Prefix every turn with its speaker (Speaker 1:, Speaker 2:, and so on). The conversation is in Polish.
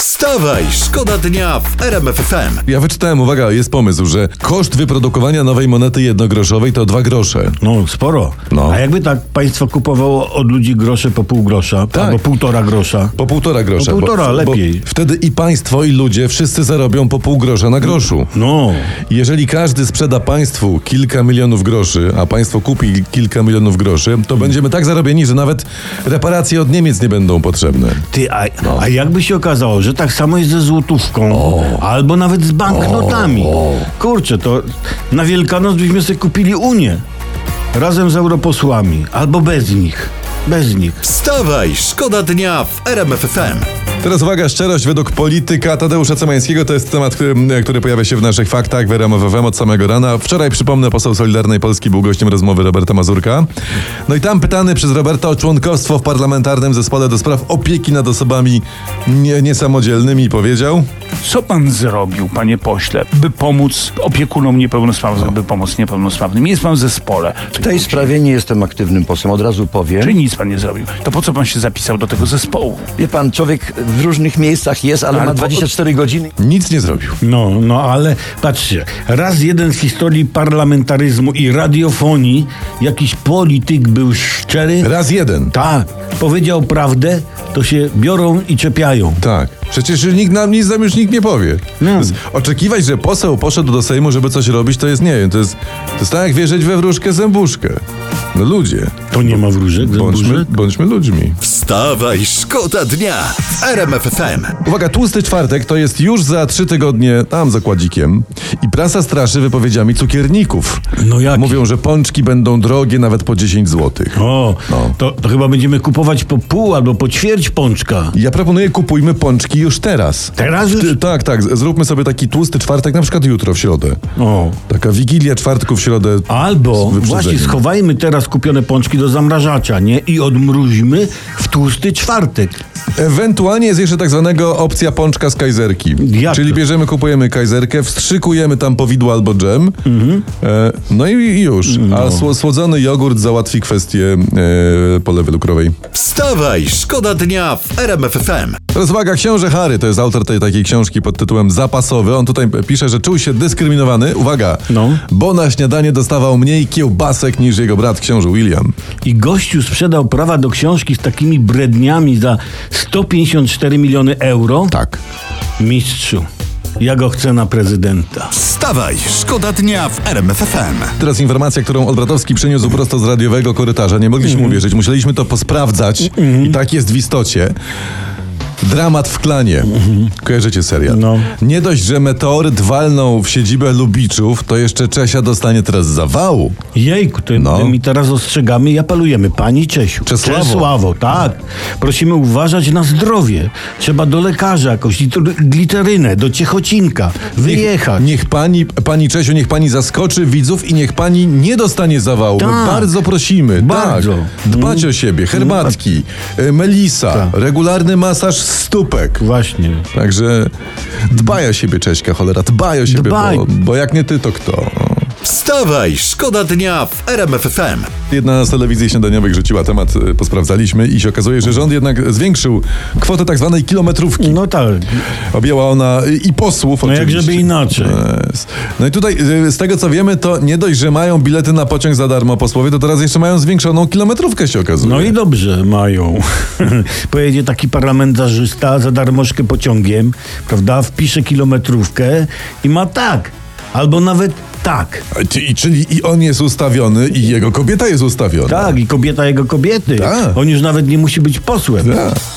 Speaker 1: Wstawaj, szkoda dnia w RMF FM.
Speaker 2: Ja wyczytałem, uwaga, jest pomysł, że koszt wyprodukowania nowej monety jednogroszowej to 2 grosze.
Speaker 3: No, sporo.
Speaker 2: No.
Speaker 3: A jakby tak państwo kupowało od ludzi grosze po pół grosza,
Speaker 2: Tak.
Speaker 3: albo półtora grosza.
Speaker 2: Po półtora grosza.
Speaker 3: Po półtora,
Speaker 2: bo,
Speaker 3: lepiej.
Speaker 2: Bo wtedy i państwo, i ludzie wszyscy zarobią po pół grosza na groszu.
Speaker 3: No,
Speaker 2: Jeżeli każdy sprzeda państwu kilka milionów groszy, a państwo kupi kilka milionów groszy, to będziemy tak zarobieni, że nawet reparacje od Niemiec nie będą potrzebne.
Speaker 3: ty, a, a jakby się okazało, że tak samo jest ze złotówką, albo nawet z banknotami. Kurczę, to na Wielkanoc byśmy sobie kupili Unię. Razem z europosłami, albo bez nich. Bez nich.
Speaker 1: Wstawaj, szkoda dnia w RMF FM.
Speaker 2: Teraz uwaga, szczerość według polityka Tadeusza Cymańskiego to jest temat, który, e, który pojawia się w naszych faktach w RMF FM od samego rana. Wczoraj, przypomnę, poseł Solidarnej Polski był gościem rozmowy Roberta Mazurka. No i tam pytany przez Roberta o członkostwo w parlamentarnym zespole do spraw opieki nad osobami nie, niesamodzielnymi powiedział...
Speaker 4: Co pan zrobił, panie pośle, by pomóc opiekunom niepełnosprawnym, by pomóc niepełnosprawnym? Jest pan w zespole.
Speaker 5: W tej sprawie nie jestem aktywnym posłem, od razu powiem.
Speaker 4: Czy nic pan nie zrobił? To po co pan się zapisał do tego zespołu?
Speaker 5: Wie pan, człowiek w różnych miejscach jest, ale,
Speaker 4: Ale
Speaker 5: ma
Speaker 4: po-
Speaker 5: 24 godziny.
Speaker 2: Nic nie zrobił.
Speaker 3: No, no ale patrzcie, raz jeden z historii parlamentaryzmu i radiofonii jakiś polityk był szczery.
Speaker 2: Raz jeden.
Speaker 3: Tak, powiedział prawdę, to się biorą i czepiają.
Speaker 2: Tak. Przecież nikt nam nic nam już nikt nie powie.
Speaker 3: No.
Speaker 2: Z- Oczekiwać, że poseł poszedł do Sejmu, żeby coś robić, to jest nie wiem, to jest, to jest tak jak wierzyć we wróżkę zębuszkę. No ludzie,
Speaker 3: To nie ma wróżek,
Speaker 2: bądźmy,
Speaker 3: zębuszek?
Speaker 2: bądźmy ludźmi.
Speaker 1: Wstawaj, szkoda dnia w RMF FM.
Speaker 2: Uwaga, tłusty czwartek to jest już za trzy tygodnie tam za kładzikiem i prasa straszy wypowiedziami cukierników.
Speaker 3: No jak?
Speaker 2: Mówią, że pączki będą drogie nawet po 10 zł.
Speaker 3: O,
Speaker 2: No.
Speaker 3: to, to chyba będziemy kupować po pół albo po ćwierć pączka.
Speaker 2: Ja proponuję kupujmy pączki już teraz.
Speaker 3: Teraz już?
Speaker 2: Ty, tak, tak, z- zróbmy sobie taki tłusty czwartek, na przykład jutro w środę.
Speaker 3: O.
Speaker 2: Taka wigilia czwartku w środę.
Speaker 3: Albo
Speaker 2: wyprzedzeniem.
Speaker 3: właśnie schowajmy teraz kupione pączki do zamrażacza, nie? I odmróźmy w tłusty czwartek.
Speaker 2: Ewentualnie jest jeszcze tak zwanego opcja pączka z kajzerki.
Speaker 3: Jak
Speaker 2: Czyli
Speaker 3: to?
Speaker 2: bierzemy, kupujemy kajzerkę, wstrzykujemy tam powidło albo dżem.
Speaker 3: Mhm.
Speaker 2: E, no i, i już. A sło, słodzony jogurt załatwi kwestię e, polewy lukrowej.
Speaker 1: Wstawaj, szkoda dnia w RMF FM.
Speaker 2: Teraz uwaga, książę Harry to jest autor tej takiej książki pod tytułem Zapasowy. On tutaj pisze, że czuł się dyskryminowany. Uwaga,
Speaker 3: No.
Speaker 2: bo na śniadanie dostawał mniej kiełbasek niż jego brat książę William.
Speaker 3: I gościu sprzedał prawa do książki z takimi bredniami za 154 miliony euro.
Speaker 2: Tak.
Speaker 3: Mistrzu, ja go chcę na prezydenta.
Speaker 1: Wstawaj, szkoda dnia w RMF FM.
Speaker 2: Teraz informacja, którą Odbratowski przyniósł prosto z radiowego korytarza. Nie mogliśmy
Speaker 3: Mhm.
Speaker 2: uwierzyć, musieliśmy to posprawdzać i tak jest w istocie. Dramat w klanie. Kojarzycie serial.
Speaker 3: Mhm. No.
Speaker 2: Nie dość, że meteoryt walnął w siedzibę Lubiczów, to jeszcze Czesia dostanie teraz zawału.
Speaker 3: Jejku, to
Speaker 2: No.
Speaker 3: my teraz ostrzegamy i apelujemy. Pani Czesiu.
Speaker 2: Czesławo.
Speaker 3: Czesławo, tak. Prosimy uważać na zdrowie. Trzeba do lekarza jakąś liter- gliterynę, do Ciechocinka. Wyjechać.
Speaker 2: Niech pani, pani Czesiu, niech pani zaskoczy widzów i niech pani nie dostanie zawału. My
Speaker 3: Tak.
Speaker 2: Bardzo prosimy.
Speaker 3: Bardzo. Mhm.
Speaker 2: Tak. Dbać o siebie. Herbatki, y, melisa,
Speaker 3: Tak.
Speaker 2: regularny masaż stópek.
Speaker 3: Właśnie.
Speaker 2: Także dbaj o siebie, Cześka, cholera, dbaj o siebie,
Speaker 3: Dbaj.
Speaker 2: Bo, bo jak nie ty, to kto?
Speaker 1: Wstawaj, szkoda dnia w RMF FM.
Speaker 2: Jedna z telewizji śniadaniowych rzuciła temat, y, posprawdzaliśmy i się okazuje, że rząd jednak zwiększył kwotę tak zwanej kilometrówki.
Speaker 3: No tak.
Speaker 2: Objęła ona y, i posłów
Speaker 3: No jak
Speaker 2: oczywiście.
Speaker 3: żeby inaczej.
Speaker 2: Yes. No i tutaj y, z tego co wiemy, to nie dość, że mają bilety na pociąg za darmo posłowie, to teraz jeszcze mają zwiększoną kilometrówkę się okazuje.
Speaker 3: No i dobrze mają. Pojedzie taki parlamentarzysta za darmożkę pociągiem, prawda? Wpisze kilometrówkę i ma tak. Albo nawet tak.
Speaker 2: A ty- I, czyli i on jest ustawiony i jego kobieta jest ustawiona.
Speaker 3: Tak, i kobieta jego kobiety.
Speaker 2: Tak.
Speaker 3: On już nawet nie musi być posłem.
Speaker 2: Tak.